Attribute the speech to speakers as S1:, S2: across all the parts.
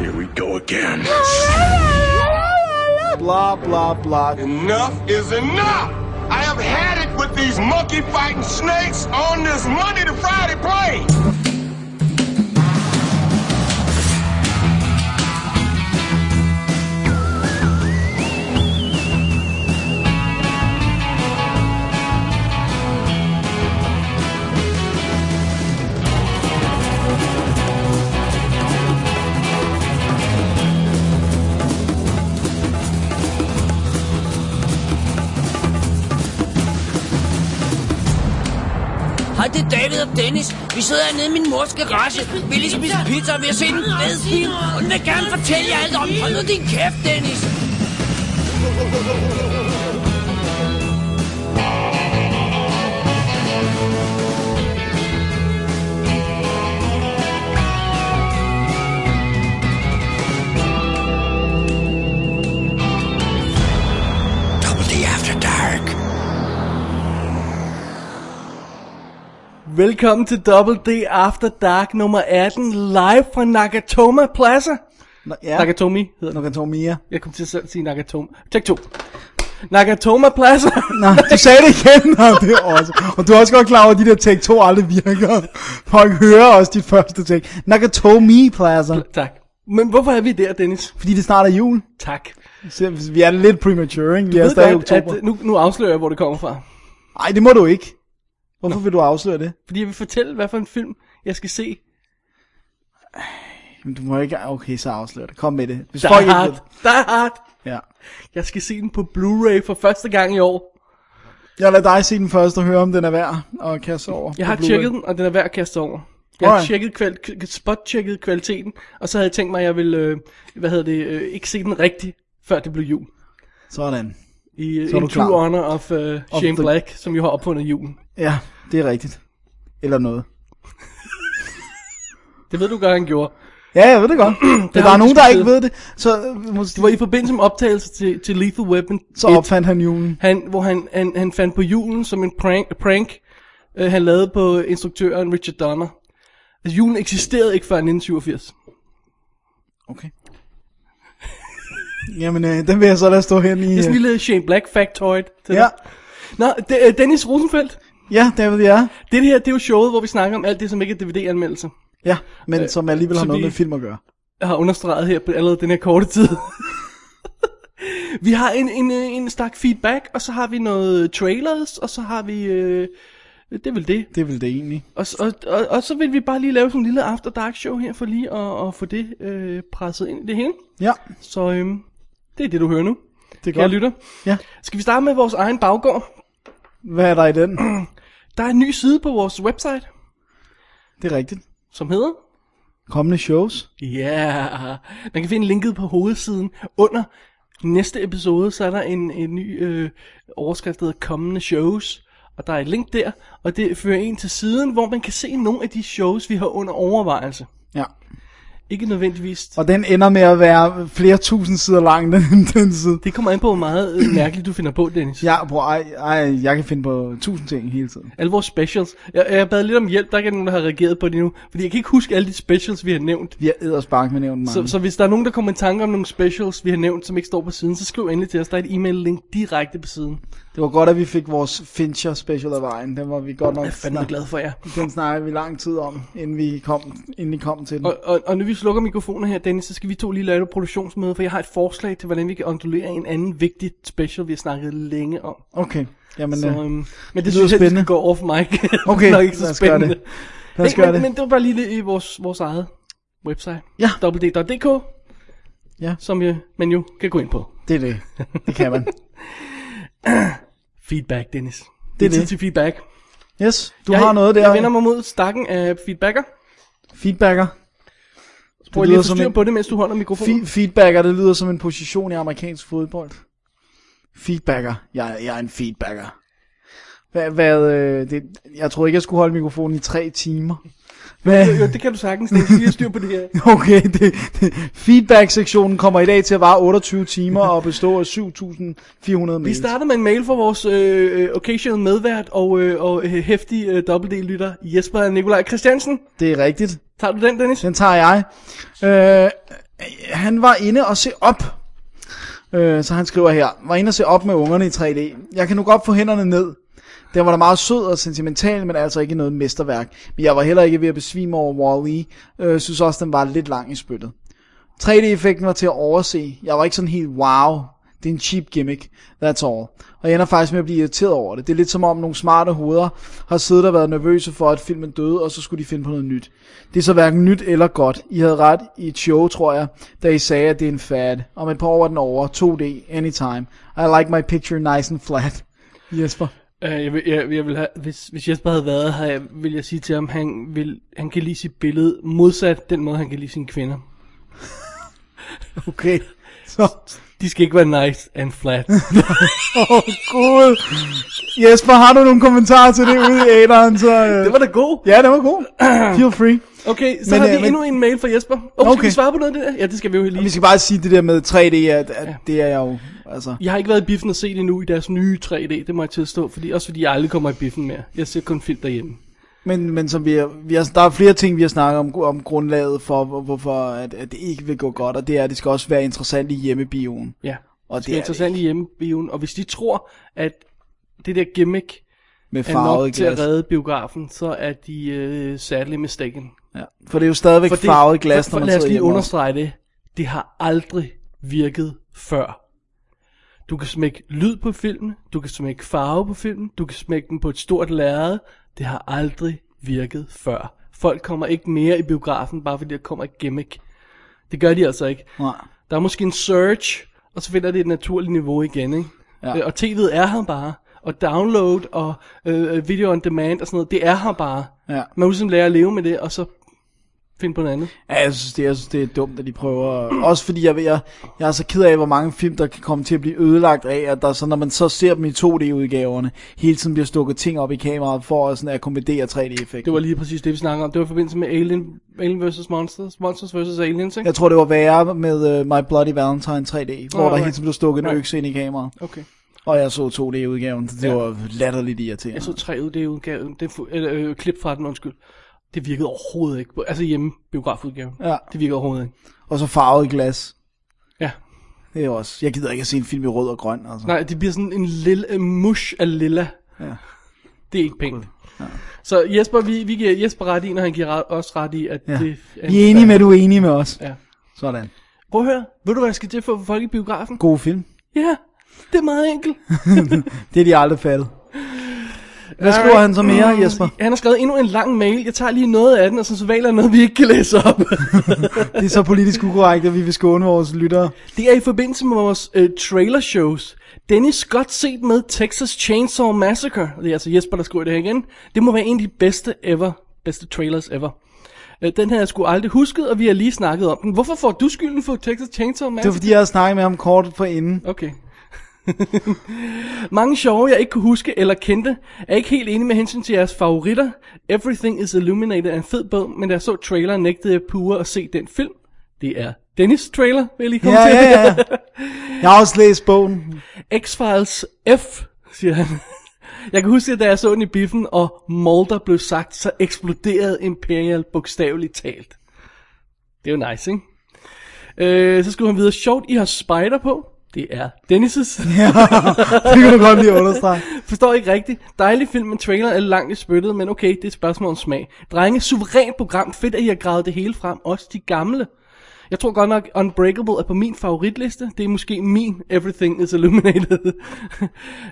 S1: Here we go again.
S2: Blah, blah, blah.
S1: Enough is enough! I have had it with these monkey fighting snakes on this Monday to Friday plane!
S3: Hej, det er David og Dennis. Vi sidder hernede i min mors garage. Vi lige spise pizza, og vi har set en fed film. Og den vil gerne fortælle jer alt om. Hold nu din kæft, Dennis.
S1: Double D after dark.
S2: Velkommen til Double D After Dark nummer 18, live fra Nakatoma Plaza.
S4: Nå, ja.
S2: Nakatomi hedder det.
S4: Nakatomia.
S2: Jeg kom til at selv sige Nakatoma. Tek 2. Nakatoma Plaza.
S4: Nej, du sagde det igen. Nå, det er også. Og du er også godt klar over, at de der take 2 aldrig virker. Folk hører også dit første take. Nakatomi Plaza.
S2: tak. Men hvorfor er vi der, Dennis?
S4: Fordi det snart er jul.
S2: Tak.
S4: Så vi er lidt premature, ikke? Vi
S2: Jeg
S4: er
S2: ved
S4: stadig i
S2: godt,
S4: oktober.
S2: at nu, nu afslører jeg, hvor det kommer fra.
S4: Nej, det må du ikke. øh, Hvorfor vil du afsløre det?
S2: Fordi jeg vil fortælle, hvad for en film, jeg skal se.
S4: Jamen, du må ikke... Okay, så afslør det. Kom med det. Hvis folk
S2: Die
S4: ikke
S2: Hard.
S4: ved-
S2: Die Hard.
S4: Ja.
S2: Jeg skal se den på Blu-ray for første gang i år.
S4: Jeg lader dig se den først og høre, om den er værd at kaste over.
S2: Jeg har
S4: på Blu-ray.
S2: tjekket den, og den er værd at kaste over. Jeg har
S4: Alright.
S2: tjekket kval- k- spot-tjekket kvaliteten, og så havde jeg tænkt mig, at jeg ville, øh, hvad hedder det, øh, ikke se den rigtigt, før det blev jul.
S4: Sådan.
S2: I øh,
S4: Så er
S2: in
S4: du
S2: true
S4: klar.
S2: honor of uh, Shane
S4: the-
S2: Black, som jo har opfundet julen.
S4: Ja, det er rigtigt. Eller noget.
S2: Det ved du godt, han gjorde.
S4: Ja, jeg ved det godt. Men
S2: har
S4: der
S2: vi
S4: er nogen, der
S2: diskuteret.
S4: ikke ved det. Så øh, måske
S2: Det var i forbindelse med optagelse til, til Lethal Weapon
S4: Så
S2: et,
S4: opfandt han julen.
S2: han, hvor han, han, han fandt på julen som en prank, prank øh, han lavede på instruktøren Richard Donner. Altså, julen eksisterede ikke før 1987.
S4: Okay. Jamen, øh, den vil jeg så lade stå hen i...
S2: Det er sådan
S4: øh,
S2: en lille Shane Black factoid til
S4: Ja,
S2: dig. Nå, de, øh, Dennis Rosenfeldt.
S4: ja, David, ja.
S2: Det her, det er jo showet, hvor vi snakker om alt det, som ikke er DVD-anmeldelser.
S4: Ja, men øh, som alligevel har
S2: så
S4: noget
S2: vi-
S4: med film at gøre.
S2: Jeg har understreget her på allerede den her korte tid. vi har en, en, øh, en stak feedback, og så har vi noget trailers, og så har vi... Øh, det er vel det.
S4: Det er vel det egentlig.
S2: Og, s- og, og, og så vil vi bare lige lave sådan en lille after dark show her, for lige at, at få det øh, presset ind i det hele.
S4: Ja,
S2: Så øhm, det er det, du hører nu.
S4: det er
S2: Jeg
S4: godt.
S2: lytter.
S4: Ja.
S2: Skal vi starte med vores egen baggård?
S4: Hvad er der i den?
S2: Der er en ny side på vores website,
S4: Det er rigtigt.
S2: som hedder...
S4: Kommende shows.
S2: Ja, yeah. man kan finde linket på hovedsiden under næste episode, så er der en, en ny øh, overskrift, der hedder kommende shows, og der er et link der, og det fører en til siden, hvor man kan se nogle af de shows, vi har under overvejelse.
S4: Ja.
S2: Ikke nødvendigvis
S4: Og den ender med at være flere tusind sider lang, den, den side.
S2: Det kommer an på, hvor meget øh, mærkeligt du finder på, Dennis. Ja.
S4: Ja, bror, ej, ej, jeg kan finde på tusind ting hele tiden.
S2: Alle vores specials. Jeg, jeg bad lidt om hjælp, der er ikke nogen, der har reageret på det endnu. Fordi jeg kan ikke huske alle de specials, vi har nævnt.
S4: Vi har æderspark med nævnt mange.
S2: Så, så hvis der er nogen, der kommer i tanke om nogle specials, vi har nævnt, som ikke står på siden, så skriv endelig til os. Der er et e-mail-link direkte på siden.
S4: Det var godt, at vi fik vores Fincher special af vejen. Den var vi godt nok...
S2: Jeg er fandme
S4: snak-
S2: glad for jer.
S4: Den snakkede vi lang tid om, inden vi kom, inden vi kom til den.
S2: Og, og, og når vi slukker mikrofonen her, Dennis, så skal vi to lige lave et produktionsmøde, for jeg har et forslag til, hvordan vi kan ondulere en anden vigtig special, vi har snakket længe om.
S4: Okay, jamen
S2: Så,
S4: øh,
S2: øhm, men det
S4: lyder
S2: synes jeg, det
S4: spændende.
S2: skal gå off mic. Det er
S4: Okay,
S2: nok ikke så
S4: lad os gøre
S2: spændende.
S4: det. lad os
S2: Ikke,
S4: gøre
S2: men, men
S4: det.
S2: det var bare lige lidt i vores, vores eget website.
S4: Ja.
S2: www.dk,
S4: Ja.
S2: som øh, man jo kan gå ind på.
S4: Det er det. Det kan man.
S2: Feedback, Dennis. Det, det
S4: Det
S2: er
S4: er
S2: tid
S4: det.
S2: til feedback.
S4: Yes, du har noget der.
S2: Jeg vender mig mod stakken af feedbacker.
S4: Feedbacker.
S2: Prøv lige
S4: lyder
S2: at
S4: som
S2: forstyrre
S4: en-
S2: på det, mens du holder mikrofonen.
S4: Fe- feedbacker, det lyder som en position i amerikansk fodbold. Feedbacker. Jeg, jeg er en feedbacker. Hvad, hvad øh, det, jeg tror ikke, jeg skulle holde mikrofonen i tre timer. Hvad?
S2: Jo, det kan du sagtens. Dennis. Lige at styr på det her.
S4: Okay, det, det, feedback-sektionen kommer i dag til at vare 28 timer og bestå af 7.400
S2: Vi
S4: mails.
S2: starter med en mail fra vores øh, øh, occasional medvært og, øh, og øh, hæftig øh, dobbelt-D-lytter Jesper Nikolaj Christiansen.
S4: Det er rigtigt.
S2: Tager du den, Dennis?
S4: Den tager jeg. Øh, han var inde og se op. Øh, så han skriver her, var inde og se op med ungerne i 3D. Jeg kan nu godt få hænderne ned. Den var da meget sød og sentimental, men altså ikke noget mesterværk. Men jeg var heller ikke ved at besvime over Wall-E. Øh, synes også, den var lidt lang i spyttet. 3D-effekten var til at overse. Jeg var ikke sådan helt wow. Det er en cheap gimmick. That's all. Og jeg ender faktisk med at blive irriteret over det. Det er lidt som om nogle smarte hoveder har siddet og været nervøse for, at filmen døde, og så skulle de finde på noget nyt. Det er så hverken nyt eller godt. I havde ret i et show, tror jeg, da I sagde, at det er en fad. Om et par år er den over. 2D, anytime. I like my picture nice and flat. Jesper.
S2: Øh, jeg, vil, jeg, jeg vil have, hvis, hvis Jesper havde været her, jeg- ville jeg sige til ham, han, vil, han kan lide sit billede modsat den måde, han kan lide sine kvinder.
S4: Okay. Så.
S2: De skal ikke være nice and flat.
S4: Åh, oh, gud. Jesper, har du nogle kommentarer til det ude i æderen? Så, øh...
S2: det var da god.
S4: Ja, det var god. Feel free.
S2: Okay, så men,
S4: Men,
S2: har
S4: øh,
S2: vi
S4: men-
S2: men... endnu en mail fra Jesper. Oh, okay. Skal
S4: Okay.
S2: vi svare på noget af det der? Ja, det skal vi jo lige.
S4: Vi skal bare sige det der med 3D, at, at ja. det er jeg jo, altså...
S2: Jeg har ikke været i biffen og set endnu i deres nye 3D, det må jeg tilstå, fordi, også fordi jeg aldrig kommer i biffen mere. Jeg ser kun film derhjemme.
S4: Men, men som vi, har- vi har, der er flere ting, vi har snakket om, om grundlaget for, hvor- hvorfor at, at det ikke vil gå godt, og det er, at det skal også være interessant i hjemmebioen.
S2: Ja,
S4: Og det
S2: det er
S4: er
S2: interessant i hjemmebioen, og hvis de tror, at det der gimmick
S4: Med
S2: er nok
S4: farvet
S2: til at
S4: glas.
S2: redde biografen, så er de øh, sadly mistaken.
S4: Ja. For det er jo stadigvæk
S2: For det-
S4: farvet glas,
S2: for, for,
S4: når man
S2: Lad os
S4: sidder
S2: lige
S4: hjemme.
S2: understrege det. Det har aldrig virket før. Du kan smække lyd på filmen, du kan smække farve på filmen, du kan smække den på et stort lærred. Det har aldrig virket før. Folk kommer ikke mere i biografen, bare fordi der kommer et gimmick. Det gør de altså ikke.
S4: Nej.
S2: Der er måske en surge, og så finder det et naturligt niveau igen, ikke?
S4: Ja.
S2: Øh, Og tv'et er her bare. Og download og øh, video on demand og sådan noget, det er her bare.
S4: Ja.
S2: Man må ligesom lære at leve med det, og så finde på noget andet.
S4: Ja, jeg synes, det, jeg synes, det er dumt, at de prøver. Også fordi jeg, ved- jeg, jeg er så ked af, hvor mange film, der kan komme til at blive ødelagt af, at der, så, når man så ser dem i 2D-udgaverne, hele tiden bliver stukket ting op i kameraet for at, sådan, at kombinere 3D-effekten.
S2: Det var lige præcis det, vi snakkede om. Det var i forbindelse med Alien, Alien vs. Monsters, Monsters vs. Aliens, ikke?
S4: Jeg tror, det var værre med uh, My Bloody Valentine 3D, hvor
S2: Nå,
S4: der
S2: nej.
S4: hele tiden blev stukket en
S2: Nej.
S4: økse ind i kameraet.
S2: Okay.
S4: Og jeg så 2D-udgaven, så det
S2: Ja.
S4: var latterligt irriterende.
S2: Jeg så 3 ud, det er udgaven, det er fu- eller, øh, klip fra den, undskyld. Det virkede overhovedet ikke. Altså hjemme, biografudgaven.
S4: Ja.
S2: Det virkede overhovedet ikke.
S4: Og så farvet glas.
S2: Ja.
S4: Det er jo også... Jeg gider ikke at se en film i rød og grøn, altså.
S2: Nej, det bliver sådan en lille en mush af lilla.
S4: Ja.
S2: Det er ikke pænt. Så Jesper, vi, vi giver Jesper ret i, når han giver ret, os ret i, at
S4: Ja.
S2: det er...
S4: Vi er enige med, at du er enige med os.
S2: Ja.
S4: Sådan.
S2: Prøv at høre, ved du hvad jeg skal til for at få folk i biografen?
S4: God film.
S2: Ja, det er meget enkelt.
S4: Det er de aldrig fattet. Hvad skriver han så mere, Jesper?
S2: Mm. Han har skrevet endnu en lang mail. Jeg tager lige noget af den, og så, så valer jeg noget, vi ikke kan læse op.
S4: Det er så politisk ukorrekt, at vi vil skåne vores lyttere.
S2: Det er i forbindelse med vores øh, trailer shows. Dennis godt set med Texas Chainsaw Massacre. Det er altså Jesper, der skriver det her igen. Det må være en af de bedste ever. Bedste trailers ever. Øh, den her jeg skulle aldrig husket, og vi har lige snakket om den. Hvorfor får du skylden for Texas Chainsaw
S4: Det var
S2: Massacre?
S4: fordi, jeg havde snakket med ham kort for inden.
S2: Okay. Mange sjove, jeg ikke kunne huske eller kendte. Jeg er ikke helt enig med hensyn til jeres favoritter. Everything is Illuminated er en fed bog, men da jeg så traileren, nægtede jeg pure at se den film. Det er Dennis' trailer, vil jeg lige komme
S4: Ja,
S2: til.
S4: ja, ja. Jeg har også læst bogen.
S2: X-Files F, siger han. Jeg kan huske, at da jeg så den i biffen, og Mulder blev sagt, så eksploderede Imperial bogstaveligt talt. Det er jo nice, ikke? Øh, så skulle han videre, sjovt, I har spider på. Det er Dennis'
S4: Det kan du godt lige understrege.
S2: Forstår ikke rigtigt. Dejlig film, men trailer er langt i spyttet, men okay, det er et spørgsmål om smag. Drenge, suverænt program. Fedt, at I har gravet det hele frem. Også de gamle. Jeg tror godt nok, Unbreakable er på min favoritliste. Det er måske min Everything is Illuminated.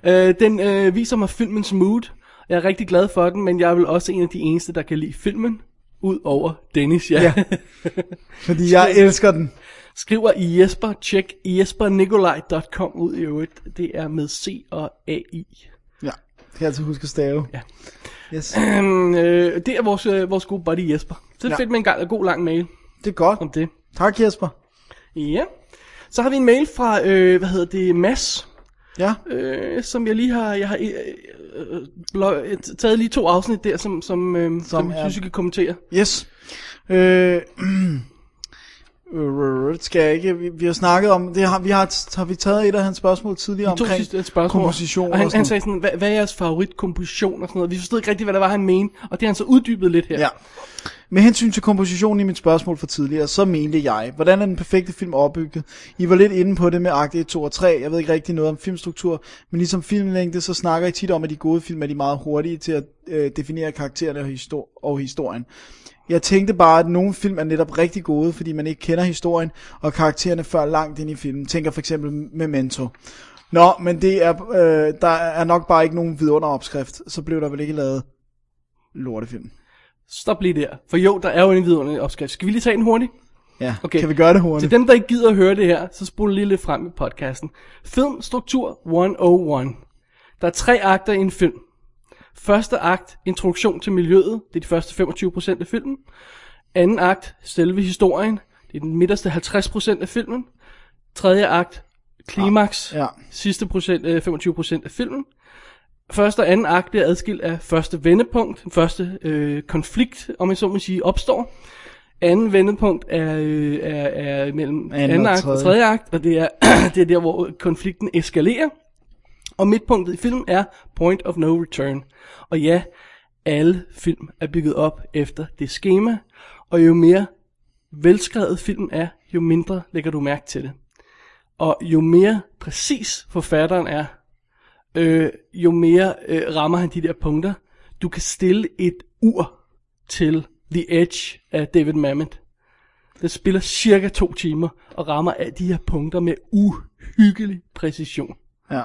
S2: Øh, den øh, viser mig filmens mood. Jeg er rigtig glad for den, men jeg er vel også en af de eneste, der kan lide filmen. Udover Dennis, ja.
S4: Ja. Fordi jeg elsker den.
S2: Skriver i Jesper, tjek jespernikolaj.com ud i øvrigt. Det er med C og A-I.
S4: Ja, det kan jeg altid huske at stave.
S2: Ja.
S4: Yes.
S2: Øhm, øh, det er vores, øh, vores gode buddy Jesper. Så det er
S4: Ja.
S2: fedt med en gang, en god lang mail
S4: Det er godt.
S2: om det.
S4: Tak, Jesper.
S2: Ja. Så har vi en mail fra, øh, hvad hedder det, Mads,
S4: Ja,
S2: øh, som jeg lige har, jeg har øh, øh, blå, øh, taget lige to afsnit der, som, som, øh, som, som jeg
S4: er-
S2: synes, I kan kommentere.
S4: yes. Øh, øh, det skal jeg ikke. Vi, vi har snakket om, det har, vi har, har vi taget et af hans spørgsmål tidligere
S2: To
S4: omkring
S2: sidste spørgsmål.
S4: komposition
S2: og han,
S4: og sådan
S2: han
S4: noget.
S2: sagde sådan, hvad, hvad er jeres favoritkomposition og sådan noget. Vi forstod ikke rigtigt, hvad der var, han mente, og det har han så uddybet lidt her.
S4: Ja. Med hensyn til kompositionen i mit spørgsmål for tidligere, så mente jeg, hvordan er den perfekte film opbygget? I var lidt inde på det med akt 1, 2 og 3. Jeg ved ikke rigtig noget om filmstruktur, men ligesom filmlængde, så snakker I tit om, at de gode film er de meget hurtige til at øh, definere karaktererne og, histor- og historien. Jeg tænkte bare, at nogle film er netop rigtig gode, fordi man ikke kender historien og karaktererne før langt ind i filmen. Tænker for eksempel Memento. Nå, men det er, øh, der er nok bare ikke nogen vidunderopskrift. Så blev der vel ikke lavet lortefilm.
S2: Stop lige der. For jo, der er jo en vidunderlig opskrift. Skal vi lige tage den hurtigt?
S4: Ja,
S2: Okay.
S4: okay. kan vi gøre det
S2: Til
S4: hurtigt?
S2: dem, der ikke gider at høre det her, så spol lige lidt frem i podcasten. Filmstruktur 101. Der er tre akter i en film. Første akt, introduktion til miljøet. Det er de første 25% af filmen. Anden akt, selve historien. Det er den midterste 50% af filmen. Tredje akt, klimaks.
S4: Ja.
S2: Sidste procent, øh, 25% af filmen. Første og anden akt er adskilt af første vendepunkt. Den første øh, konflikt, om jeg så må sige, opstår. Anden vendepunkt er, øh, er, er mellem anden, anden og akt og tredje akt, og det er, det er der, hvor konflikten eskalerer. Og midtpunktet i filmen er Point of No Return. Og ja, alle film er bygget op efter det schema, og jo mere velskrevet film er, jo mindre lægger du mærke til det. Og jo mere præcis forfatteren er, øh, jo mere øh, rammer han de der punkter. Du kan stille et ur til The Edge af David Mamet. Den spiller cirka to timer og rammer af de her punkter med uhyggelig præcision.
S4: Ja.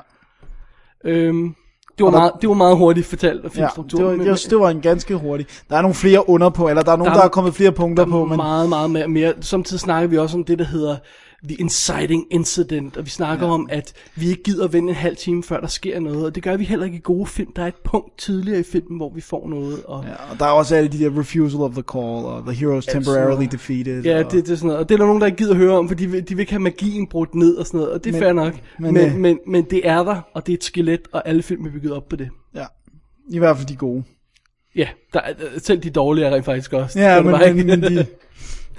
S2: Øhm, det, var
S4: Og der-
S2: meget, det var meget hurtigt fortalt og
S4: Ja,
S2: filmstruktur.
S4: det var,
S2: men-
S4: jeg synes, det var en ganske hurtig. Der er nogle flere under på, eller der er nogle,
S2: Der
S4: der,
S2: er-
S4: der er kommet flere punkter på, men
S2: meget, meget mere, mere. Samtidig snakker vi også om det, der hedder The Inciting Incident, og vi snakker ja. om, at vi ikke gider vente en halv time, før der sker noget, og det gør vi heller ikke i gode film. Der er et punkt tidligere i filmen, hvor vi får noget, og
S4: ja, og der er også alle de der refusal of the call, og the heroes temporarily defeated.
S2: ja,
S4: og,
S2: det, det er sådan noget. Og det er der nogen, der ikke gider høre om, for de vil, de vil ikke have magien brudt ned og sådan noget, og det er
S4: Men-
S2: fair nok. Men,
S4: men,
S2: men,
S4: øh,
S2: men, men det er der, og det er et skelet, og alle film er bygget op på det.
S4: ja. I hvert fald de gode.
S2: Ja, der, er- øh, selv de dårlige er rent faktisk også. Det er
S4: Ja,
S2: det
S4: men,
S2: bare
S4: men,
S2: ikke.
S4: men de...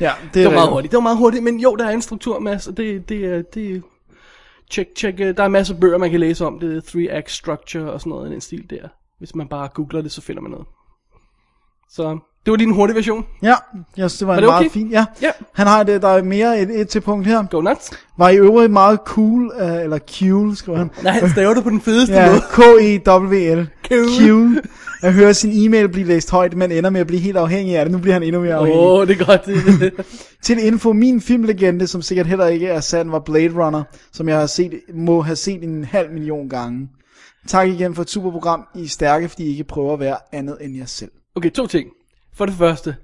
S4: Ja, det
S2: Det
S4: er
S2: var meget
S4: rigtigt.
S2: hurtigt. Det var meget hurtigt, men jo, der er en struktur, Mads, og det, det er... Det, check, check. øh, Der er masser af bøger, man kan læse om det. 3-act structure og sådan noget i den stil der. Hvis man bare googler det, så finder man noget. Så det var lige en hurtig version.
S4: Ja, jeg synes, det var,
S2: Var
S4: en
S2: det
S4: meget
S2: okay?
S4: fin... Ja.
S2: Ja.
S4: Han har det, der er mere et, et til punkt her.
S2: Go nuts.
S4: Var i øvrigt meget cool, øh, eller cool, skriver han.
S2: Nej, han staver det på den fedeste
S4: Ja, E
S2: måde.
S4: K-E-W-L.
S2: Cool.
S4: Cool. At høre sin e-mail blive læst højt, men ender med at blive helt afhængig af det. Nu bliver han endnu mere afhængig.
S2: Åh, oh, det er godt. Det, det.
S4: Til info, min filmlegende, som sikkert heller ikke er sand, var Blade Runner, som jeg har set, må have set en halv million gange. Tak igen for et super program. I er stærke, fordi I ikke prøver at være andet end jer selv.
S2: Okay, to ting. For det første.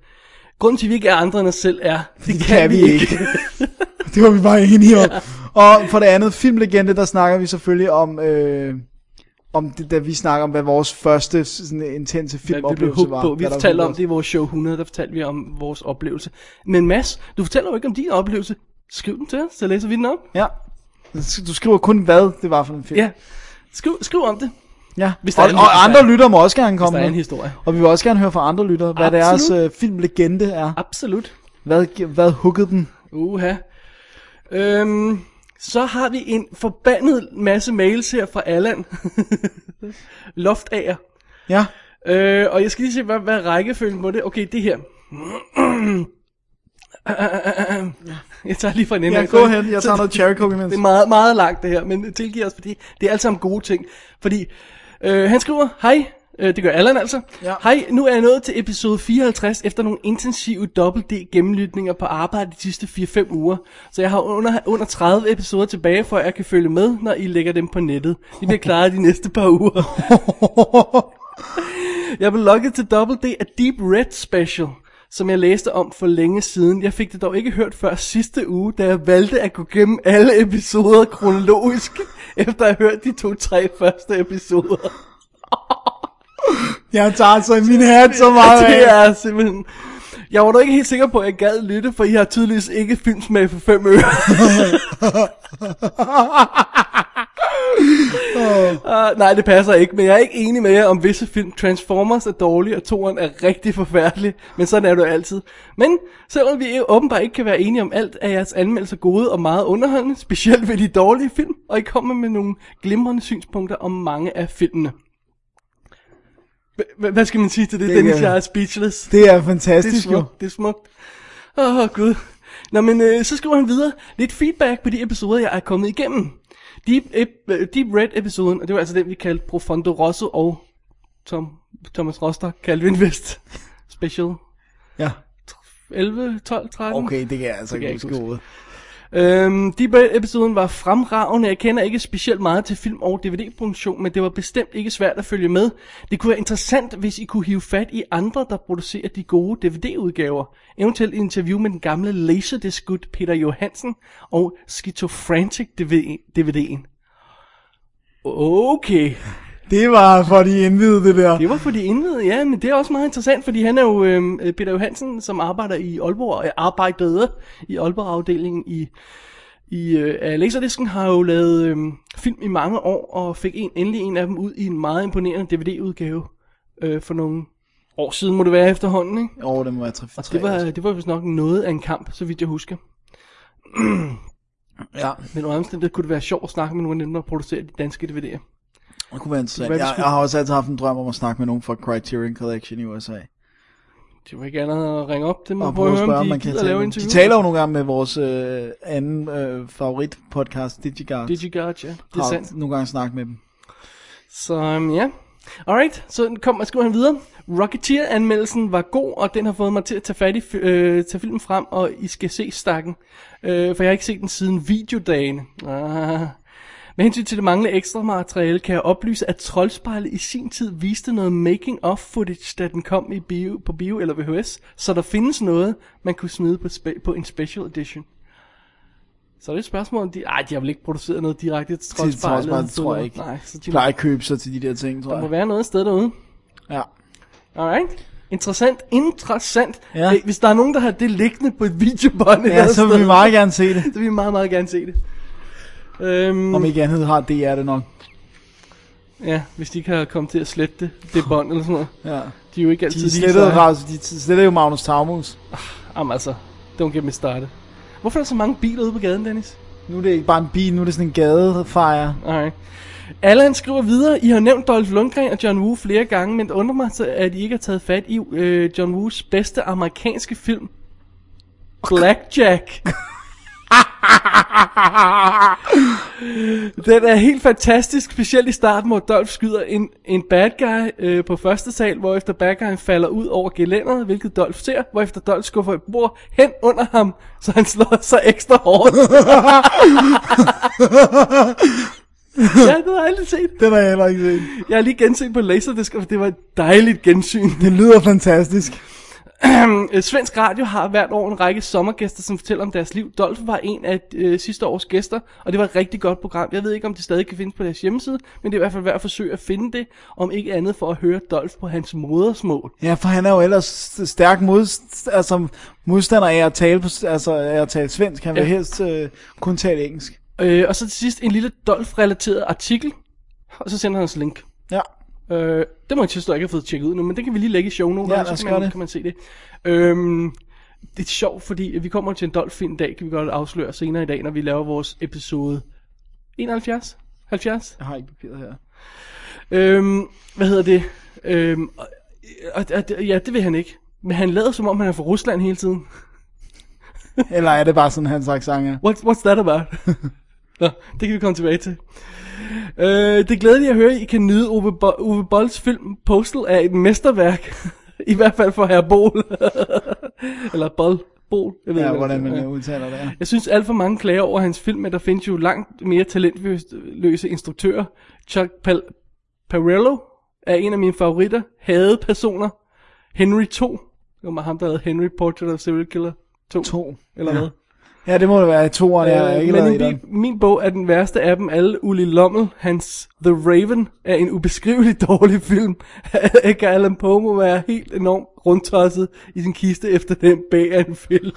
S2: Grunden til, at vi ikke er andre end os selv, er... Det,
S4: Det kan vi ikke. det var vi bare enige om. Og for det andet, filmlegende, der snakker vi selvfølgelig om, øh, om det, da vi snakker om, hvad vores første sådan, intense
S2: Ja, vi blev
S4: filmoplevelse
S2: hooked
S4: var.
S2: på. Vi
S4: Hvad der
S2: fortalte
S4: var
S2: om det i vores show 100, der fortalte vi om vores oplevelse. Men Mads, du fortæller jo ikke om din oplevelse. Skriv den til os, så læser vi den op.
S4: Ja. Du skriver kun, hvad det var for en film.
S2: Ja. Skriv, skriv om det,
S4: ja.
S2: Hvis der
S4: Og,
S2: er en- hvis
S4: og
S2: der
S4: andre
S2: er-
S4: lytter må også gerne
S2: hvis
S4: komme
S2: der er en
S4: med.
S2: historie.
S4: Og vi vil også gerne høre fra andre lyttere, hvad
S2: Absolut.
S4: deres øh, filmlegende er.
S2: Absolut.
S4: Hvad, hvad huggede den?
S2: Uha. Øhm, så har vi en forbandet masse mails her fra Allan. Loftager.
S4: Ja,
S2: Øh, og jeg skal lige se, hvad, hvad er rækkefølgen på det. Okay, det her. jeg tager lige fra en ende.
S4: jeg
S2: af,
S4: går
S2: fordi-
S4: hen. Jeg
S2: så-
S4: tager noget cherry coke imens.
S2: Det er meget, meget langt det her, men tilgiv os, fordi det er alt sammen gode ting. Fordi øh, han skriver, hej, øh, det gør Allan altså.
S4: Ja.
S2: Hej, nu er jeg nået til episode 54 efter nogle intensive dobbelt D gennemlytninger på arbejde de sidste 4-5 uger. Så jeg har under, under 30 episoder tilbage, for at jeg kan følge med, når I lægger dem på nettet. De bliver klaret de næste par uger. Jeg blev lukket til Double D af Deep Red Special, som jeg læste om for længe siden. Jeg fik det dog ikke hørt før sidste uge, da jeg valgte at gå gennem alle episoder kronologisk, efter at have hørt de to-tre første episoder.
S4: Jeg tager altså i min hat så meget
S2: det
S4: af.
S2: er simpelthen... Jeg var dog ikke helt sikker på, at jeg gad lytte, for I har tydeligvis ikke filmsmag for fem øre. uh, nej, det passer ikke, men jeg er ikke enig med jer om visse film. Transformers er dårlig, og toren er rigtig forfærdelig, men sådan er det jo altid. Men selvom vi åbenbart ikke kan være enige om alt, er jeres anmeldelser gode og meget underholdende, specielt ved de dårlige film, og I kommer med nogle glimrende synspunkter om mange af filmene. Hva- hva- Hvad skal man sige til det,
S4: Det
S2: det
S4: er-
S2: Dennis? Jeg er speechless.
S4: Det er
S2: Det er
S4: fantastisk jo.
S2: smukt, det er smukt. Åh, oh, gud. Nå, men øh, så skriver han videre. Lidt feedback på de episoder, jeg er kommet igennem. Deep, ep- øh, Deep Red-episoden, og det var altså den, vi kaldte Profondo Rosso og Tom, Thomas Rostock, Calvin West Special
S4: Ja.
S2: 11, 12, 13.
S4: Okay, det kan jeg altså
S2: Det kan
S4: ikke
S2: jeg ikke
S4: huske ordet.
S2: Øhm, Deep Red-episoden var fremragende. Jeg kender ikke specielt meget til film- og DVD-produktion, men det var bestemt ikke svært at følge med. Det kunne være interessant, hvis I kunne hive fat i andre, der producerer de gode DVD-udgaver. Eventuelt et interview med den gamle Laserdisc-gud Peter Johansen og Schizophrenic DVD'en. Okay,
S4: Det var for de indvidede, det der.
S2: det var for de indledende, ja, men det er også meget interessant, fordi han er jo øh, Peter Johansen, som arbejder i Aalborg, og arbejdede i Aalborg-afdelingen i i øh, af Laserdisken har jo lavet øh, film i mange år, og fik en, endelig en af dem ud i en meget imponerende DVD-udgave øh, for nogle år siden, må det være efterhånden, ikke?
S4: Åh, oh, det må være tre,
S2: Og
S4: tre
S2: det var,
S4: år.
S2: det var vist nok noget af en kamp, så vidt jeg husker.
S4: Ja,
S2: Men under omstændighed kunne det være sjovt at snakke med nogle af dem, der producerer de danske DVD'er.
S4: det kunne være interessant.
S2: Det kunne være, vi
S4: Jeg,
S2: skulle-
S4: jeg, har også altid haft en drøm om at snakke med nogen fra Criterion Collection i USA.
S2: Det var ikke andet at ringe op til dem
S4: Og
S2: og
S4: prøve at
S2: prøve
S4: spørge, om
S2: om de
S4: man kan
S2: gider
S4: tale
S2: lave
S4: med dem.
S2: interview.
S4: De taler jo nogle gange med vores øh, anden øh, favoritpodcast, Digigard.
S2: Digigard, ja. Det er
S4: har
S2: sandt.
S4: nogle gange snakket med dem.
S2: Så um, ja. Alright, så kom og skriver han videre. Rocketeer-anmeldelsen var god, og den har fået mig til at tage, fat i, fi- øh, tage filmen frem, og I skal se stakken. Øh, for jeg har ikke set den siden videodagen. Ah. Med hensyn til det manglende ekstra materiale, kan jeg oplyse, at Troldspejlet i sin tid viste noget making-of-footage, da den kom i bio, på bio eller VHS, så der findes noget, man kunne smide på, spe- på en special edition. Så er det et spørgsmål, om de... Ej, de har vel ikke produceret noget direkte til
S4: Til
S2: Troldspejlet?
S4: Troldspejlet, tror jeg ikke.
S2: Nej, så
S4: De
S2: de
S4: plejer at købe sig til de der ting, tror
S2: der må
S4: jeg.
S2: være noget sted derude.
S4: Ja.
S2: Alright. Interessant, interessant.
S4: Ja.
S2: Ja. Hvis der er nogen, der har det liggende på et videobånd et
S4: ja,
S2: andet
S4: så vil
S2: sted,
S4: vi meget gerne se det.
S2: så vil vi meget, meget gerne se det. Øhm,
S4: Om ikke andet har DR det nok.
S2: ja, hvis de ikke har kommet til at slette det, det bånd eller sådan noget.
S4: Ja.
S2: De er jo ikke altid
S4: De
S2: lige
S4: slettede,
S2: seje.
S4: Raus- de slettede jo Magnus Taumus.
S2: Jamen altså, don't get me started. Hvorfor er der så mange biler ude på gaden, Dennis?
S4: Nu er det ikke bare en bil, nu er det sådan en gadefejre.
S2: Alright. Allan skriver videre, I har nævnt Dolph Lundgren og John Woo flere gange, men det undrer mig, så, at I ikke har taget fat i øh, John Woos bedste amerikanske film. Blackjack. Den er helt fantastisk, specielt i starten, hvor Dolph skyder en, en bad guy øh, på første sal, hvorefter bad guyen falder ud over gelænderet, hvilket Dolph ser, hvorefter Dolph skuffer et bord hen under ham, så han slår sig ekstra hårdt. ja, det har jeg aldrig set.
S4: Den har jeg heller ikke set.
S2: Jeg har lige genset på Laserdisc, og det var et dejligt gensyn.
S4: Det lyder fantastisk.
S2: Øh, Svensk Radio har hvert år en række sommergæster, som fortæller om deres liv. Dolph var en af øh, sidste års gæster, og det var et rigtig godt program. Jeg ved ikke, om det stadig kan findes på deres hjemmeside, men det er i hvert fald værd at forsøge at finde det, om ikke andet for at høre Dolph på hans modersmål.
S4: Ja, for han er jo ellers st- stærk mod, altså, modstander af at tale, på, altså, af at tale svensk. Han vil
S2: Ja.
S4: helst øh, kun tale engelsk.
S2: Øh, og så til sidst en lille Dolph-relateret artikel, og så sender han os link.
S4: Ja.
S2: Øh, det må jeg tilstå, jeg ikke har fået tjekket ud nu, men det kan vi lige lægge i shownoterne,
S4: Ja, lad
S2: ja,
S4: os
S2: så kan
S4: gøre
S2: man,
S4: det.
S2: kan man se det. Øhm, det er sjovt, fordi vi kommer til en Dolphin dag, kan vi godt afsløre senere i dag, når vi laver vores episode 71? 70?
S4: Jeg har ikke papiret her.
S2: Øhm, hvad hedder det? Øhm, og, og, og, ja, det vil han ikke. Men han lader som om, han er fra Rusland hele tiden.
S4: Eller er det bare sådan, hans accent er?
S2: What, what's that about? Nå, det kan vi komme tilbage til. Øh, det glæder jeg at høre, at I kan nyde Ove, Bo- Ove Bolls film Postal af et mesterværk. I hvert fald for herre Bol. Eller Boll. Bol. Jeg ved
S4: Ja,
S2: ikke,
S4: hvordan man
S2: ja.
S4: øh, udtaler det. ja.
S2: Jeg synes alt for mange klager over hans film, men der findes jo langt mere talentløse instruktører. Chuck Pal- Parello er en af mine favoritter. Hade personer. Henry 2. Det var ham, der lavede Henry Portrait of a Serial Killer 2.
S4: To.
S2: Eller
S4: ja.
S2: hvad?
S4: Ja, det må det være. To år, jeg har
S2: Øh,
S4: ikke
S2: men
S4: lavet
S2: i
S4: etteren.
S2: min, min bog er den værste af dem alle. Uli Lommel, hans The Raven, er en ubeskrivelig dårlig film. Edgar Allan Poe må være helt enormt rundtosset i sin kiste efter den bag af en film.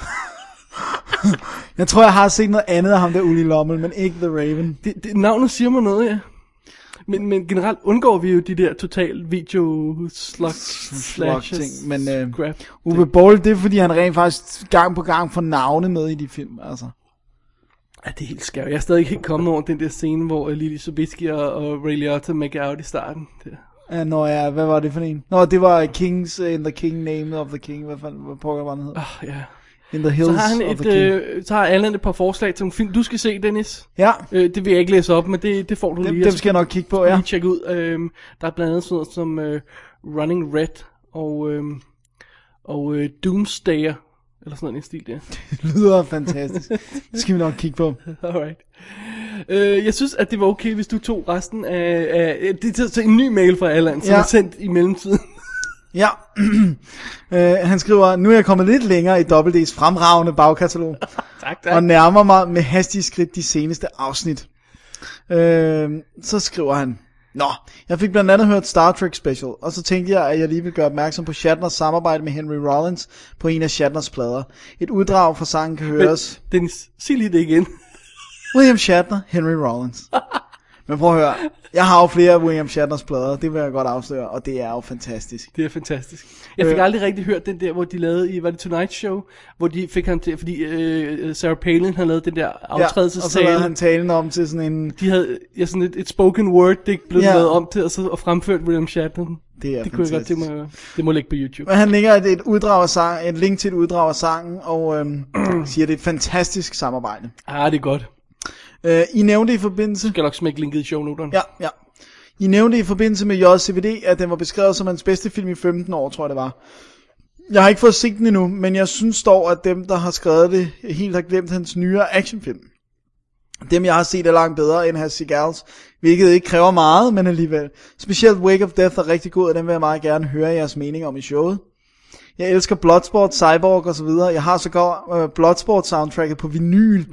S4: Jeg tror, jeg har set noget andet af ham der Uli Lommel, men ikke The Raven.
S2: Det, det, navnet siger mig noget, ja. Men, men generelt undgår vi jo de der total video slug slashes,
S4: ting, men, øh,
S2: scrap.
S4: Uwe Boll, det er fordi, han rent faktisk gang på gang får navne med i de film, altså.
S2: Ja, det er helt skævt. Jeg er stadig ikke kommet over den der scene, hvor øh, Lili Sobieski og, og Ray Liotta make out i starten. Det,
S4: Ja, Nå ja, hvad var det for en? Nå, det var Kings uh, in the King, Name of the King, hvad fanden, hvad pokker var den hed?
S2: Ah, ja.
S4: In the Hills
S2: Så har han
S4: of the
S2: et,
S4: King.
S2: øh, så har Allan et par forslag til nogle film, du skal se, Dennis.
S4: Ja,
S2: Øh, det vil jeg ikke læse op, men det, det får du
S4: dem,
S2: lige.
S4: dem
S2: så
S4: skal jeg nok kigge på, ja.
S2: lige tjekke ud. Øhm, der er blandt andet sådan noget som øh, Running Red og, øhm, og øh, Doomsdayer. Eller sådan noget i den stil der.
S4: Det lyder fantastisk. Det skal vi nok kigge på.
S2: Alright. Øh, jeg synes, at det var okay, hvis du tog resten af... af det er til, til en ny mail fra Allan, som
S4: Ja.
S2: ja. er sendt i mellemtiden.
S4: Ja, øh, han skriver, nu er jeg kommet lidt længere i WD's fremragende bagkatalog,
S2: tak,
S4: og nærmer mig med hastige skridt de seneste afsnit. Øh, så skriver han, Nå, jeg fik blandt andet hørt Star Trek Special, og så tænkte jeg, at jeg lige ville gøre opmærksom på Shatners samarbejde med Henry Rollins på en af Shatners plader. Et uddrag fra sangen kan høres.
S2: Men, Dennis, sig lige det igen.
S4: William Shatner, Henry Rollins. Men prøv at høre, jeg har jo flere af William Shatners plader, det vil jeg godt afsløre, og det er jo fantastisk.
S2: Det er fantastisk. Jeg
S4: Øh.
S2: fik aldrig rigtig hørt den der, hvor de lavede i, var det Tonight Show, hvor de fik ham til, fordi øh, Sarah Palin havde lavet den der
S4: og så
S2: aftrædelsestale.
S4: lavede han talen om til sådan en...
S2: de havde ja, sådan et, et spoken word, det ikke blev
S4: Ja.
S2: ja. lavet om til, og, så, og fremført William Shatner. Det,
S4: Det er
S2: det kunne jeg godt
S4: fantastisk.
S2: tænke mig at høre. Det må ligge på YouTube.
S4: Men han lægger et, et, uddrag af sang, et link til et uddrag af sangen, og øhm, siger, at det er et fantastisk samarbejde.
S2: Ah, det er godt.
S4: Øh, I nævnte i forbindelse...
S2: Jeg skal nok smække linket i shownoterne.
S4: Ja, ja. I nævnte i forbindelse med JCVD, at den var beskrevet som hans bedste film i 15 år, tror jeg det var. Jeg har ikke fået set den endnu, men jeg synes dog, at dem, der har skrevet det, helt har glemt hans nyere actionfilm. Dem, jeg har set, er langt bedre end Hans Seagals, hvilket ikke kræver meget, men alligevel. Specielt Wake of Death er rigtig god, og den vil jeg meget gerne høre jeres mening om i showet. Jeg elsker Bloodsport, Cyborg og så videre. Jeg har sågar øh, Bloodsport soundtracket på vinyl.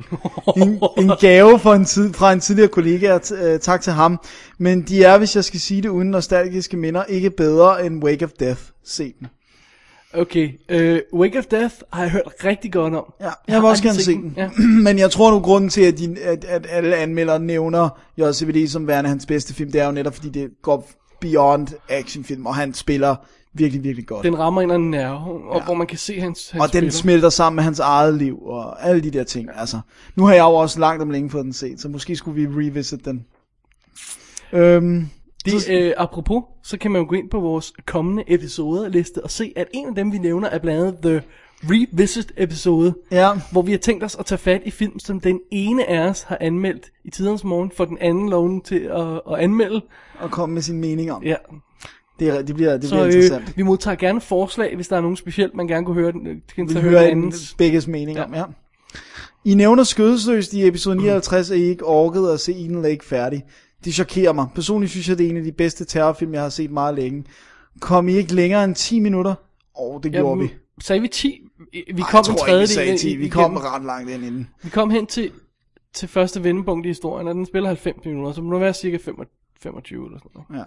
S4: En, en gave fra en, tid, fra en tidligere kollega. T- øh, tak til ham. Men de er, hvis jeg skal sige det uden nostalgiske minder, ikke bedre end Wake of Death. Se den.
S2: Okay, øh, Wake of Death har jeg hørt rigtig godt om.
S4: Ja, jeg vil også
S2: har
S4: gerne
S2: aldrig
S4: se
S2: set
S4: den.
S2: Ja.
S4: Men jeg tror nu, grunden til, at, de, at, at alle anmeldere nævner JCVD som værende hans bedste film, det er jo netop, fordi det går beyond actionfilm, og han spiller virkelig, virkelig godt.
S2: Den rammer en eller anden nerve, og ja. hvor man kan se hans, hans
S4: og den
S2: spiller.
S4: smelter sammen med hans eget liv, og alle de der ting. Altså, nu har jeg jo også langt om længe fået den set, så måske skulle vi revisit den. Øhm,
S2: Det, øh, apropos, så kan man jo gå ind på vores kommende episodeliste og se, at en af dem, vi nævner, er blandt andet The Revisit episode,
S4: Ja.
S2: hvor vi har tænkt os at tage fat i film, som den ene af os har anmeldt i tidernes morgen, for den anden loven til at, at anmelde.
S4: og komme med sin mening om.
S2: Ja,
S4: Det, er- det bliver, det
S2: så
S4: bliver interessant.
S2: øh, vi modtager gerne forslag, hvis der er nogen specielt, man gerne kunne høre den. øh, Kan
S4: Vi
S2: så høre
S4: hører
S2: den
S4: en
S2: andens.
S4: begges mening
S2: Ja.
S4: om, ja. I nævner skødesløst i episode 59, at I ikke orkede at se Eden Lake færdig. Det chokerer mig. Personligt synes jeg, det er en af de bedste terrorfilm, jeg har set meget længe. Kom I ikke længere end 10 minutter? Åh, oh, det gjorde vi.
S2: Sagde vi 10? Vi kom
S4: jeg
S2: en
S4: tror ikke, vi
S2: tredjedel
S4: sagde
S2: ind-
S4: 10. Vi
S2: igennem.
S4: kom ret langt ind inden.
S2: Vi kom hen til, til første vendepunkt i historien, og den spiller 90 minutter, så må det være cirka 25 eller sådan noget.
S4: Ja.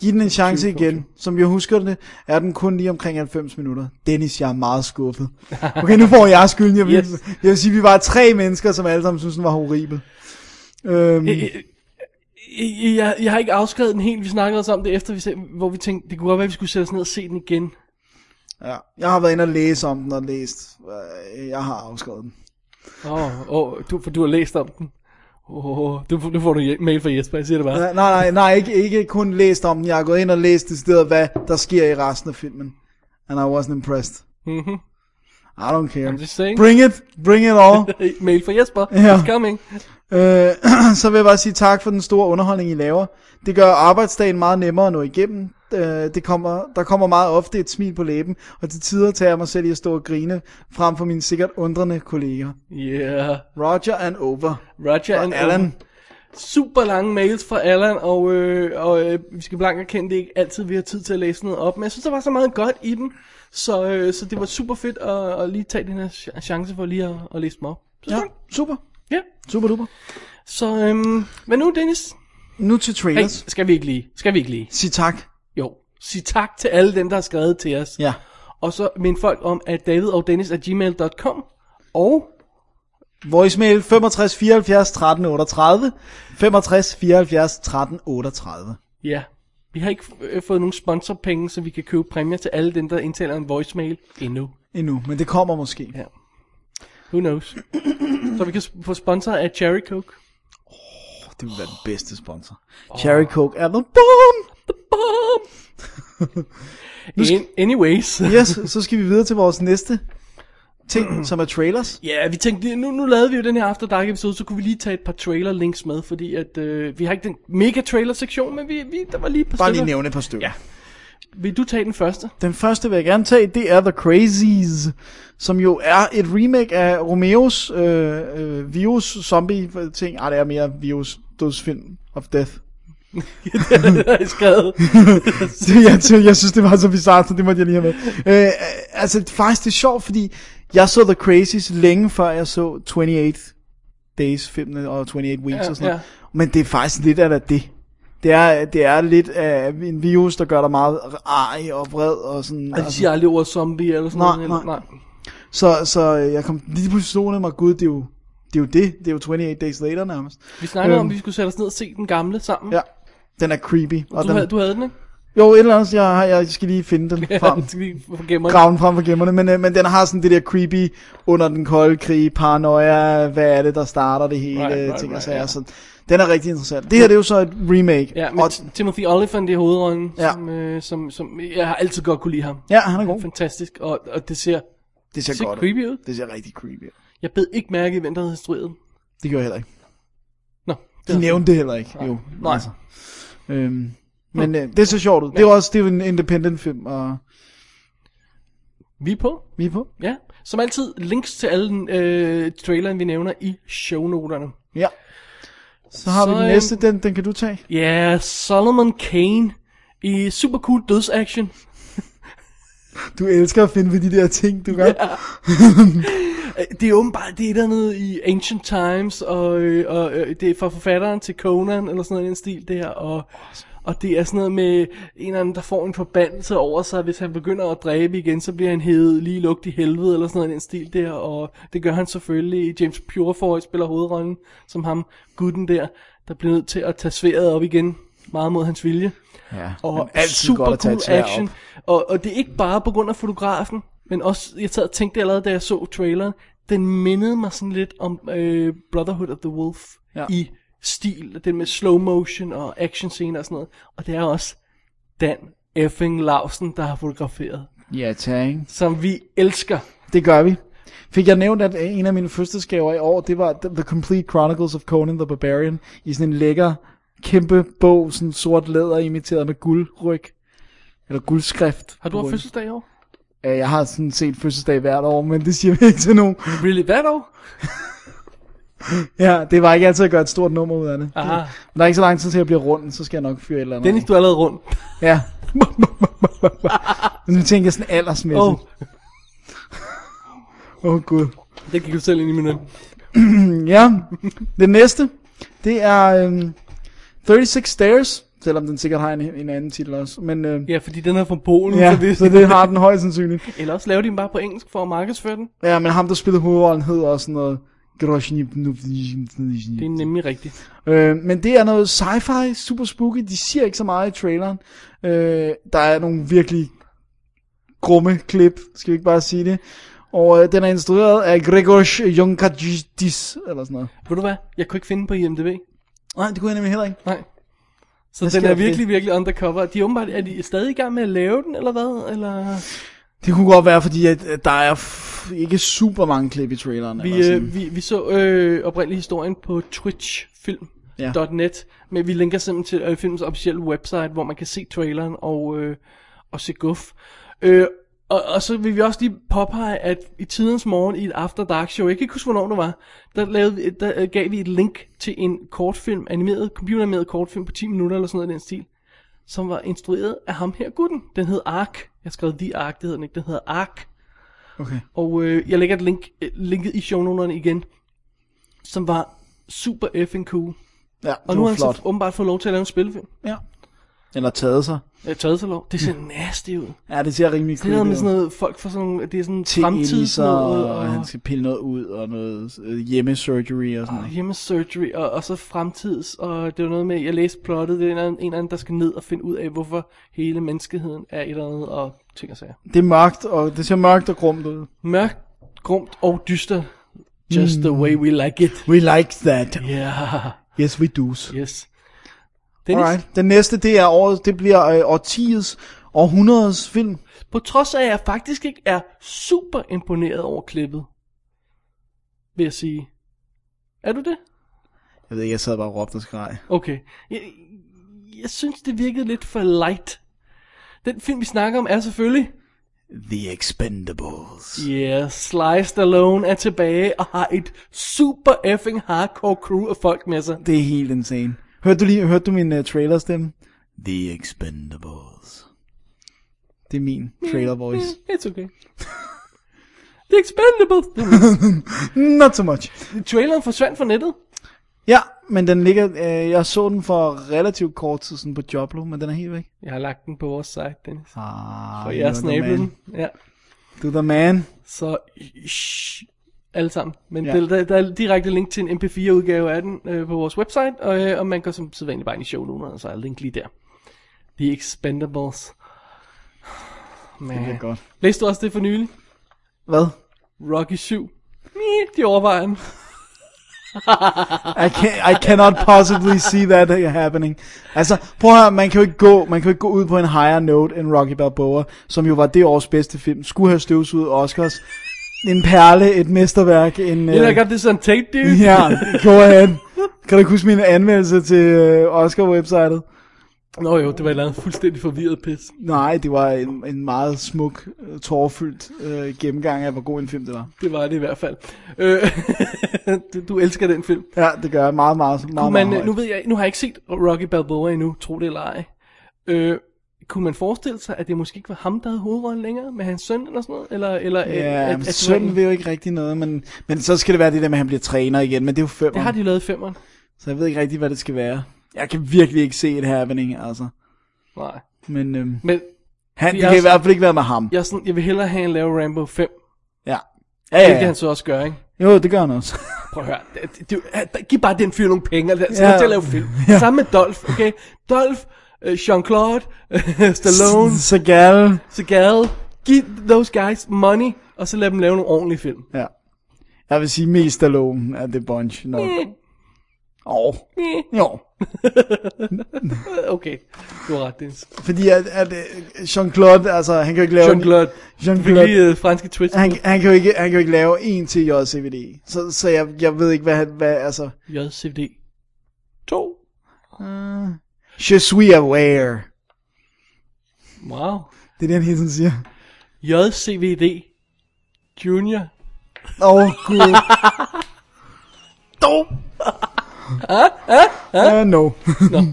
S4: Giv den en chance
S2: 20,
S4: igen. Som jeg husker det, er den kun lige omkring 90 minutter. Dennis, jeg er meget skuffet. Okay, nu får jeg skylden. Jeg vil, yes.
S2: Yes.
S4: jeg vil sige, vi var tre mennesker, som alle sammen synes, den var horribel. Øhm,
S2: Øh, øh, øh, Jeg, jeg har ikke afskrevet den helt. Vi snakkede også om det efter, vi se, hvor vi tænkte, det kunne godt være, at vi skulle sætte os ned og se den igen.
S4: ja. Jeg har været inde og læse om den og læst. Øh, Jeg har afskrevet den.
S2: Åh, oh, oh, du, for du har læst om den. Åh, oh, du, nu får du je- mail fra Jesper, jeg siger det bare.
S4: Nej, nej, nej ikke, ikke kun læst om den. Jeg har gået ind og læst det sted, hvad der sker i resten af filmen. And I wasn't impressed.
S2: Mhm.
S4: I don't care.
S2: I'm just saying.
S4: Bring it. Bring it all.
S2: Hey, Mail fra Jesper,
S4: Ja.
S2: it's coming.
S4: Øh, så vil jeg bare sige tak for den store underholdning, I laver. Det gør arbejdsdagen meget nemmere at nå igennem. Øh, det kommer, der kommer meget ofte et smil på læben, og til tider tager jeg mig selv i at stå og grine, frem for mine sikkert undrende kolleger.
S2: Yeah,
S4: Roger and over.
S2: Roger
S4: Og
S2: and
S4: Alan.
S2: Super lange mails fra Allan, og, øh, og øh, vi skal blankt erkende, det er ikke altid, vi har tid til at læse noget op, men jeg synes, der var så meget godt i dem, så, øh, så det var super fedt at, at lige tage den her ch- chance for lige at, at læse dem op. Så,
S4: Ja,
S2: skønt.
S4: super.
S2: ja.
S4: Super duper.
S2: Så, øhm, hvad nu, Dennis?
S4: Nu til
S2: Hey,
S4: trailers. Hey.
S2: skal vi ikke lige? Skal vi ikke lige?
S4: Sig tak.
S2: Jo. Sig tak til alle dem, der har skrevet til os.
S4: Ja.
S2: Og så mind folk om, at david og dennis er gmail.com. Og
S4: Voicemail 65 74 13 38. 65 74 13 38.
S2: ja, vi har ikke øh, fået nogen sponsorpenge, så vi kan købe præmier til alle dem, der indtaler en voicemail endnu.
S4: Endnu, men det kommer måske.
S2: Ja. Who knows? så vi kan s- få sponsor af Cherry Coke.
S4: Det vil være den bedste sponsor. Cherry Coke er the bomb!
S2: bum. In, anyways. Ja,
S4: Yes, så skal vi videre til vores næste ting, som er trailers.
S2: yeah, vi tænkte, nu, nu lavede vi jo den her After Dark episode, så kunne vi lige tage et par trailer links med, fordi at, øh, vi har ikke den mega trailer sektion, men vi, vi, der var lige et par
S4: Bare lige
S2: stykker.
S4: nævne et par stykker.
S2: Ja. Vil du tage den første?
S4: Den første vil jeg gerne tage, det er The Crazies, som jo er et remake af Romeos øh, øh, virus zombie ting. Ej, det er mere virus dødsfilm of death.
S2: Jeg skrevet.
S4: Det, jeg, ty- jeg synes, det var så bizarrt, så det måtte jeg lige have med. Øh, altså, faktisk det er sjovt, fordi jeg så The Crazies længe før jeg så 28 Days filmene og 28 Weeks
S2: Ja,
S4: ja, og sådan noget.
S2: ja.
S4: Men det er faktisk lidt af det. Det er, det er lidt af en virus, der gør dig meget arg og vred og sådan.
S2: Og de Altså, siger aldrig ordet zombie eller sådan
S4: Nej,
S2: noget.
S4: nej. Så, så øh, jeg kom lige pludselig stående mig, gud, det er jo det. Er jo det. det er jo 28 Days Later nærmest.
S2: Vi snakkede om,
S4: Øhm.
S2: at vi skulle sætte os ned og se den gamle sammen.
S4: Ja, den er creepy. Og
S2: Du,
S4: den,
S2: havde, du havde den, ikke?
S4: Jo, et eller andet, jeg, har- jeg skal lige finde den frem.
S2: Skal vi forgemme den?
S4: Grav den frem for gemmerne, men, øh, men den har sådan det der creepy under den kolde krig, paranoia, hvad er det, der starter det hele,
S2: Right,
S4: right,
S2: right,
S4: right, ting og
S2: right,
S4: sager.
S2: ja.
S4: Right, Så den er rigtig interessant. Det her det er jo så et remake.
S2: Ja,
S4: og,
S2: med Timothy Oliphant i hovedrollen,
S4: Ja.
S2: som, øh, som, som jeg har altid godt kunne lide ham.
S4: ja, han er god.
S2: Fantastisk, og, og det ser,
S4: Det ser,
S2: det ser
S4: godt
S2: creepy ud.
S4: ud. Det ser rigtig creepy ud.
S2: Jeg bed ikke mærke i, hvem der havde instrueret den.
S4: Det gjorde jeg heller ikke.
S2: Nå,
S4: De nævnte det heller ikke, jo. Altså.
S2: Nej.
S4: Øhm, men øh, det ser sjovt ud. Det er jo også det er jo en independent film, og
S2: Vi er på,
S4: vi er på.
S2: ja. Som altid, links til alle øh, traileren, vi nævner i shownoterne.
S4: Ja. Så har
S2: Så,
S4: så, vi den
S2: øhm,
S4: næste, den, den kan du tage.
S2: Ja, yeah, Solomon Kane i super cool dødsaction.
S4: Du elsker at finde ved de der ting, du gør. Ja.
S2: Øh, Det er åbenbart, det er et eller andet i Ancient Times, og, øh, og øh, det er fra forfatteren til Conan, eller sådan noget i den stil der, og, og det er sådan noget med en eller anden, der får en forbandelse over sig, hvis han begynder at dræbe igen, så bliver han hævet lige lugt i helvede, eller sådan noget i den stil der, og det gør han selvfølgelig, James Purefoy spiller hovedrollen, som ham, gutten der, der bliver nødt til at tage sværet op igen, meget mod hans vilje
S4: ja.
S2: og
S4: men altid
S2: super
S4: godt at tage
S2: cool
S4: et sværd
S2: action.
S4: Op.
S2: Og, og det er ikke bare på grund af fotografen, men også, jeg sad og tænkte allerede, da jeg så traileren, den mindede mig sådan lidt om øh, Brotherhood of the Wolf ja.
S4: Ja.
S2: i stil, den med slow motion og action scener og sådan noget. Og det er også Dan effing Lausen, der har fotograferet,
S4: Ja, tak. ikke?
S2: som vi elsker.
S4: Det gør vi. Fik jeg nævnt, at en af mine fødselsgaver i år, det var The Complete Chronicles of Conan the Barbarian, i sådan en lækker, kæmpe bog, sådan sort læder, imiteret med guldryg. Eller guldskrift.
S2: Har du
S4: på
S2: haft
S4: ryggen.
S2: fødselsdag i år?
S4: Ja, Jeg har sådan set fødselsdag hvert år, men det siger vi ikke til nogen.
S2: Really, hvad dog?
S4: Ja, det var ikke altid at gøre et stort nummer ud af det.
S2: Aha.
S4: Men der er ikke så lang tid til at blive rundt, så skal jeg nok fyre et eller andet.
S2: Dennis, du er allerede rundt.
S4: Ja. Men nu tænker jeg sådan aldersmæssigt.
S2: Åh, oh,
S4: Åh, oh. oh, gud.
S2: det gik du selv ind i min
S4: Ja, det næste, det er øhm, 36 Stairs, selvom den sikkert har en, en anden titel også. Men øhm,
S2: Ja, fordi den er fra Polen,
S4: ja,
S2: så det,
S4: så det har den højst sandsynligt.
S2: Eller også laver de den bare på engelsk for at markedsføre den.
S4: Ja, men ham, der spillede hovedrollen, hed også sådan noget...
S2: Det er nemlig rigtigt.
S4: Øh, men det er noget sci-fi, super spooky. De siger ikke så meget i traileren. Øh, der er nogle virkelig grumme klip, skal vi ikke bare sige det. Og øh, den er instrueret af Gregor Junkadis, eller sådan noget.
S2: Ved du hvad? Jeg kunne ikke finde den på IMDb.
S4: Nej, det kunne jeg nemlig heller ikke.
S2: Nej. Så den
S4: Hvad sker
S2: er
S4: der for
S2: virkelig, virkelig undercover. De er åbenbart, er de stadig i gang med at lave den, eller hvad? Eller...
S4: Det kunne godt være, fordi at, at der er f- ikke super mange klip i traileren. eller
S2: Vi,
S4: sådan.
S2: øh, vi, vi så øh, oprindeligt historien på twitchfilm.net, men vi linker simpelthen til øh, filmens officielle website, hvor man kan se traileren og, øh, og se guf. Øh, og, og så vil vi også lige påpege, at i tidens morgen i et After Dark show, jeg kan ikke huske, hvornår det var, der, lavede, vi- der øh, gav vi et link til en kortfilm, animeret, computeranimeret kortfilm på 10 minutter eller sådan noget i den stil, som var instrueret af ham her gutten. Den hed Ark. Jeg skrev The Ark, det hed den ikke. Den hedder Ark.
S4: Okay.
S2: Og øh, jeg lægger et link, øh, linket i shownoterne igen, som var super effing cool.
S4: Ja,
S2: Og nu har han
S4: flot.
S2: så åbenbart fået lov til at lave en spillefilm.
S4: Ja. Eller taget sig.
S2: Jeg har taget sig lov. Det ser nasty ud.
S4: Ja, det ser rimelig
S2: Det er
S4: creepy
S2: noget med
S4: ud.
S2: sådan noget, folk fra sådan nogle, det er sådan
S4: Til
S2: fremtids
S4: Elisa,
S2: noget,
S4: og han skal pille noget ud, og noget øh, hjemmesurgery og sådan noget.
S2: hjemmesurgery, og, og så fremtids, og det var noget med, jeg læste plottet, det er en eller anden, en eller anden, der skal ned og finde ud af, hvorfor hele menneskeheden er et eller andet, og ting og sager.
S4: Det er mørkt, og det ser mørkt og grumt ud.
S2: Mørkt, grumt og dyster.
S4: Hmm.
S2: Just the way we like it.
S4: We like that.
S2: Yeah.
S4: Yes, we do.
S2: Yes. Dennis, Alright.
S4: Alright. Den næste, det er året, det bliver øh, årtiets, århundredes film.
S2: på trods af, at jeg faktisk ikke er super imponeret over klippet, vil jeg sige. Er du det?
S4: Jeg ved ikke, jeg sad bare og råbte og skreg.
S2: Okay. Jeg, jeg synes, det virkede lidt for light. Den film, vi snakker om, er selvfølgelig...
S4: The Expendables.
S2: Ja, yeah, Sly Stallone er tilbage og har et super effing hardcore crew af folk med sig.
S4: Det er helt insane. Hørte du lige, hørte du min uh, trailer stemme? The Expendables. Det er min
S2: Mm.
S4: trailer voice.
S2: It's okay. The Expendables.
S4: Not so much.
S2: Traileren forsvandt fra nettet.
S4: Ja, men den ligger, øh, jeg så den for relativt kort tid siden på Joblo, men den er helt væk.
S2: Jeg har lagt den på vores site, Dennis.
S4: Ah,
S2: Og jeg har snablet den. Ja.
S4: Du the man.
S2: Så shh, alle sammen. Men
S4: Ja.
S2: ja. der, der, der er direkte link til en mp4-udgave af den øh, på vores website, og, øh, og man går som sædvanligt bare ind i shownoterne, og så er link lige der. The Expendables. Man.
S4: Det er godt.
S2: Læste du også det for nylig?
S4: Hvad?
S2: Rocky 7. Meh, de overvejer den.
S4: I, can, I cannot possibly see that happening. Altså, prøv at høre, man kan jo ikke gå, man kan jo ikke gå ud på en higher note end Rocky Balboa, som jo var det års bedste film, skulle have støvsuget Oscars. En perle, et mesterværk, en...
S2: You know, I
S4: øh,
S2: got this on tape, dude.
S4: Ja, go ahead. Kan du ikke huske min anmeldelse til øh, Oscar-websitet?
S2: Nå jo, det var et eller andet fuldstændig forvirret pis.
S4: Nej, det var en, en meget smuk, øh, tårerfyldt øh, gennemgang af, hvor god en film det var.
S2: Det var det i hvert fald. Øh, du, du elsker den film.
S4: Ja, det gør jeg meget, meget, meget, meget,
S2: man,
S4: meget
S2: øh, nu ved jeg, nu har jeg ikke set Rocky Balboa endnu, tro det eller ej. Øh, kunne man forestille sig, at det måske ikke var ham, der havde hovedrollen længere, med hans søn eller sådan noget? Eller, eller, øh,
S4: Ja,
S2: at,
S4: men
S2: at-
S4: sønnen vil jo ikke rigtig noget, men, men så skal det være det der med, at han bliver træner igen, men det er jo fem
S2: Det har de jo lavet i femmeren.
S4: så jeg ved ikke rigtig, hvad det skal være. Jeg kan virkelig ikke se et happening, altså.
S2: Nej.
S4: Men øhm,
S2: Men
S4: han,
S2: Vi
S4: det
S2: er
S4: kan i
S2: også-
S4: hvert fald ikke være med ham.
S2: jeg, er sådan, jeg vil hellere have en lave Rambo 5.
S4: Ja.
S2: Ja,
S4: Ja,
S2: Det
S4: ja,
S2: kan
S4: ja.
S2: han så også gøre, ikke?
S4: Jo, det gør han også.
S2: Prøv at høre. Det, det, det, er jo- giv bare den fyr nogle penge, eller så
S4: Ja.
S2: ja. til at lave film. Ja. Sammen med Dolph, okay? Dolph, øh, Jean-Claude, Stallone,
S4: Så gal.
S2: Seagal. Giv those guys money, og så lad dem lave nogle ordentlige film.
S4: Ja. Jeg vil sige mest Stallone af det bunch nok.
S2: Mm. Eh,
S4: Åh. Oh. Jo.
S2: Okay, du har ret, Dennis.
S4: Fordi at, at øh, Jean-Claude, altså han kan jo ikke lave...
S2: Jean-Claude. Du fik
S4: Jean-Claude.
S2: lige øh, franske twist.
S4: Han, han, kan jo ikke, han kan jo ikke lave en til JCVD. Så, så jeg, jeg ved ikke, hvad han... Hvad, altså...
S2: JCVD 2. Ah.
S4: Je suis aware.
S2: Wow.
S4: Det er det, han hele tiden siger.
S2: JCVD Junior.
S4: Åh, oh, gud. Dog. uh, no.
S2: Nå.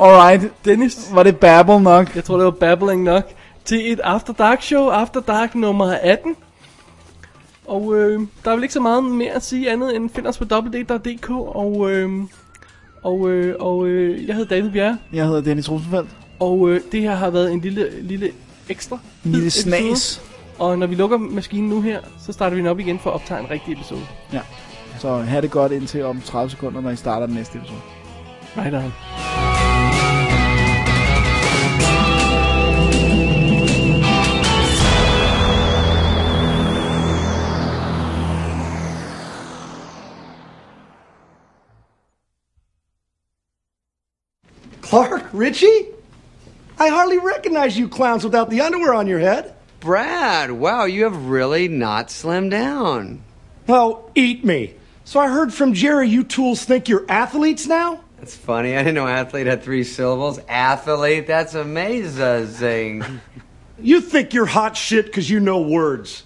S4: Alright.
S2: Dennis,
S4: Var det babble nok?
S2: jeg tror det var babbling nok, til et After Dark show, After Dark nummer 18. Og øh, der er vel ikke så meget mere at sige andet end find os på www.dk og... Øh, og, øh, og øh, jeg hedder David Bjerre,
S4: Jeg hedder Dennis Rosenfeldt.
S2: og øh, det her har været en lille, lille ekstra
S4: En lille
S2: episode.
S4: snas.
S2: Og når vi lukker maskinen nu her, så starter vi den op igen for at optage en rigtig episode.
S4: Ja. Så have det godt indtil om 30 sekunder, når I starter den næste episode.
S2: Right on.
S5: Clark, Richie? I hardly recognize you clowns without the underwear on your head.
S6: Brad, wow, you have really not slimmed down.
S5: Oh, eat me. So I heard from Jerry you tools think you're athletes now?
S6: That's funny. I didn't know athlete had three syllables. Athlete, that's amazing.
S5: You think you're hot shit because you know words.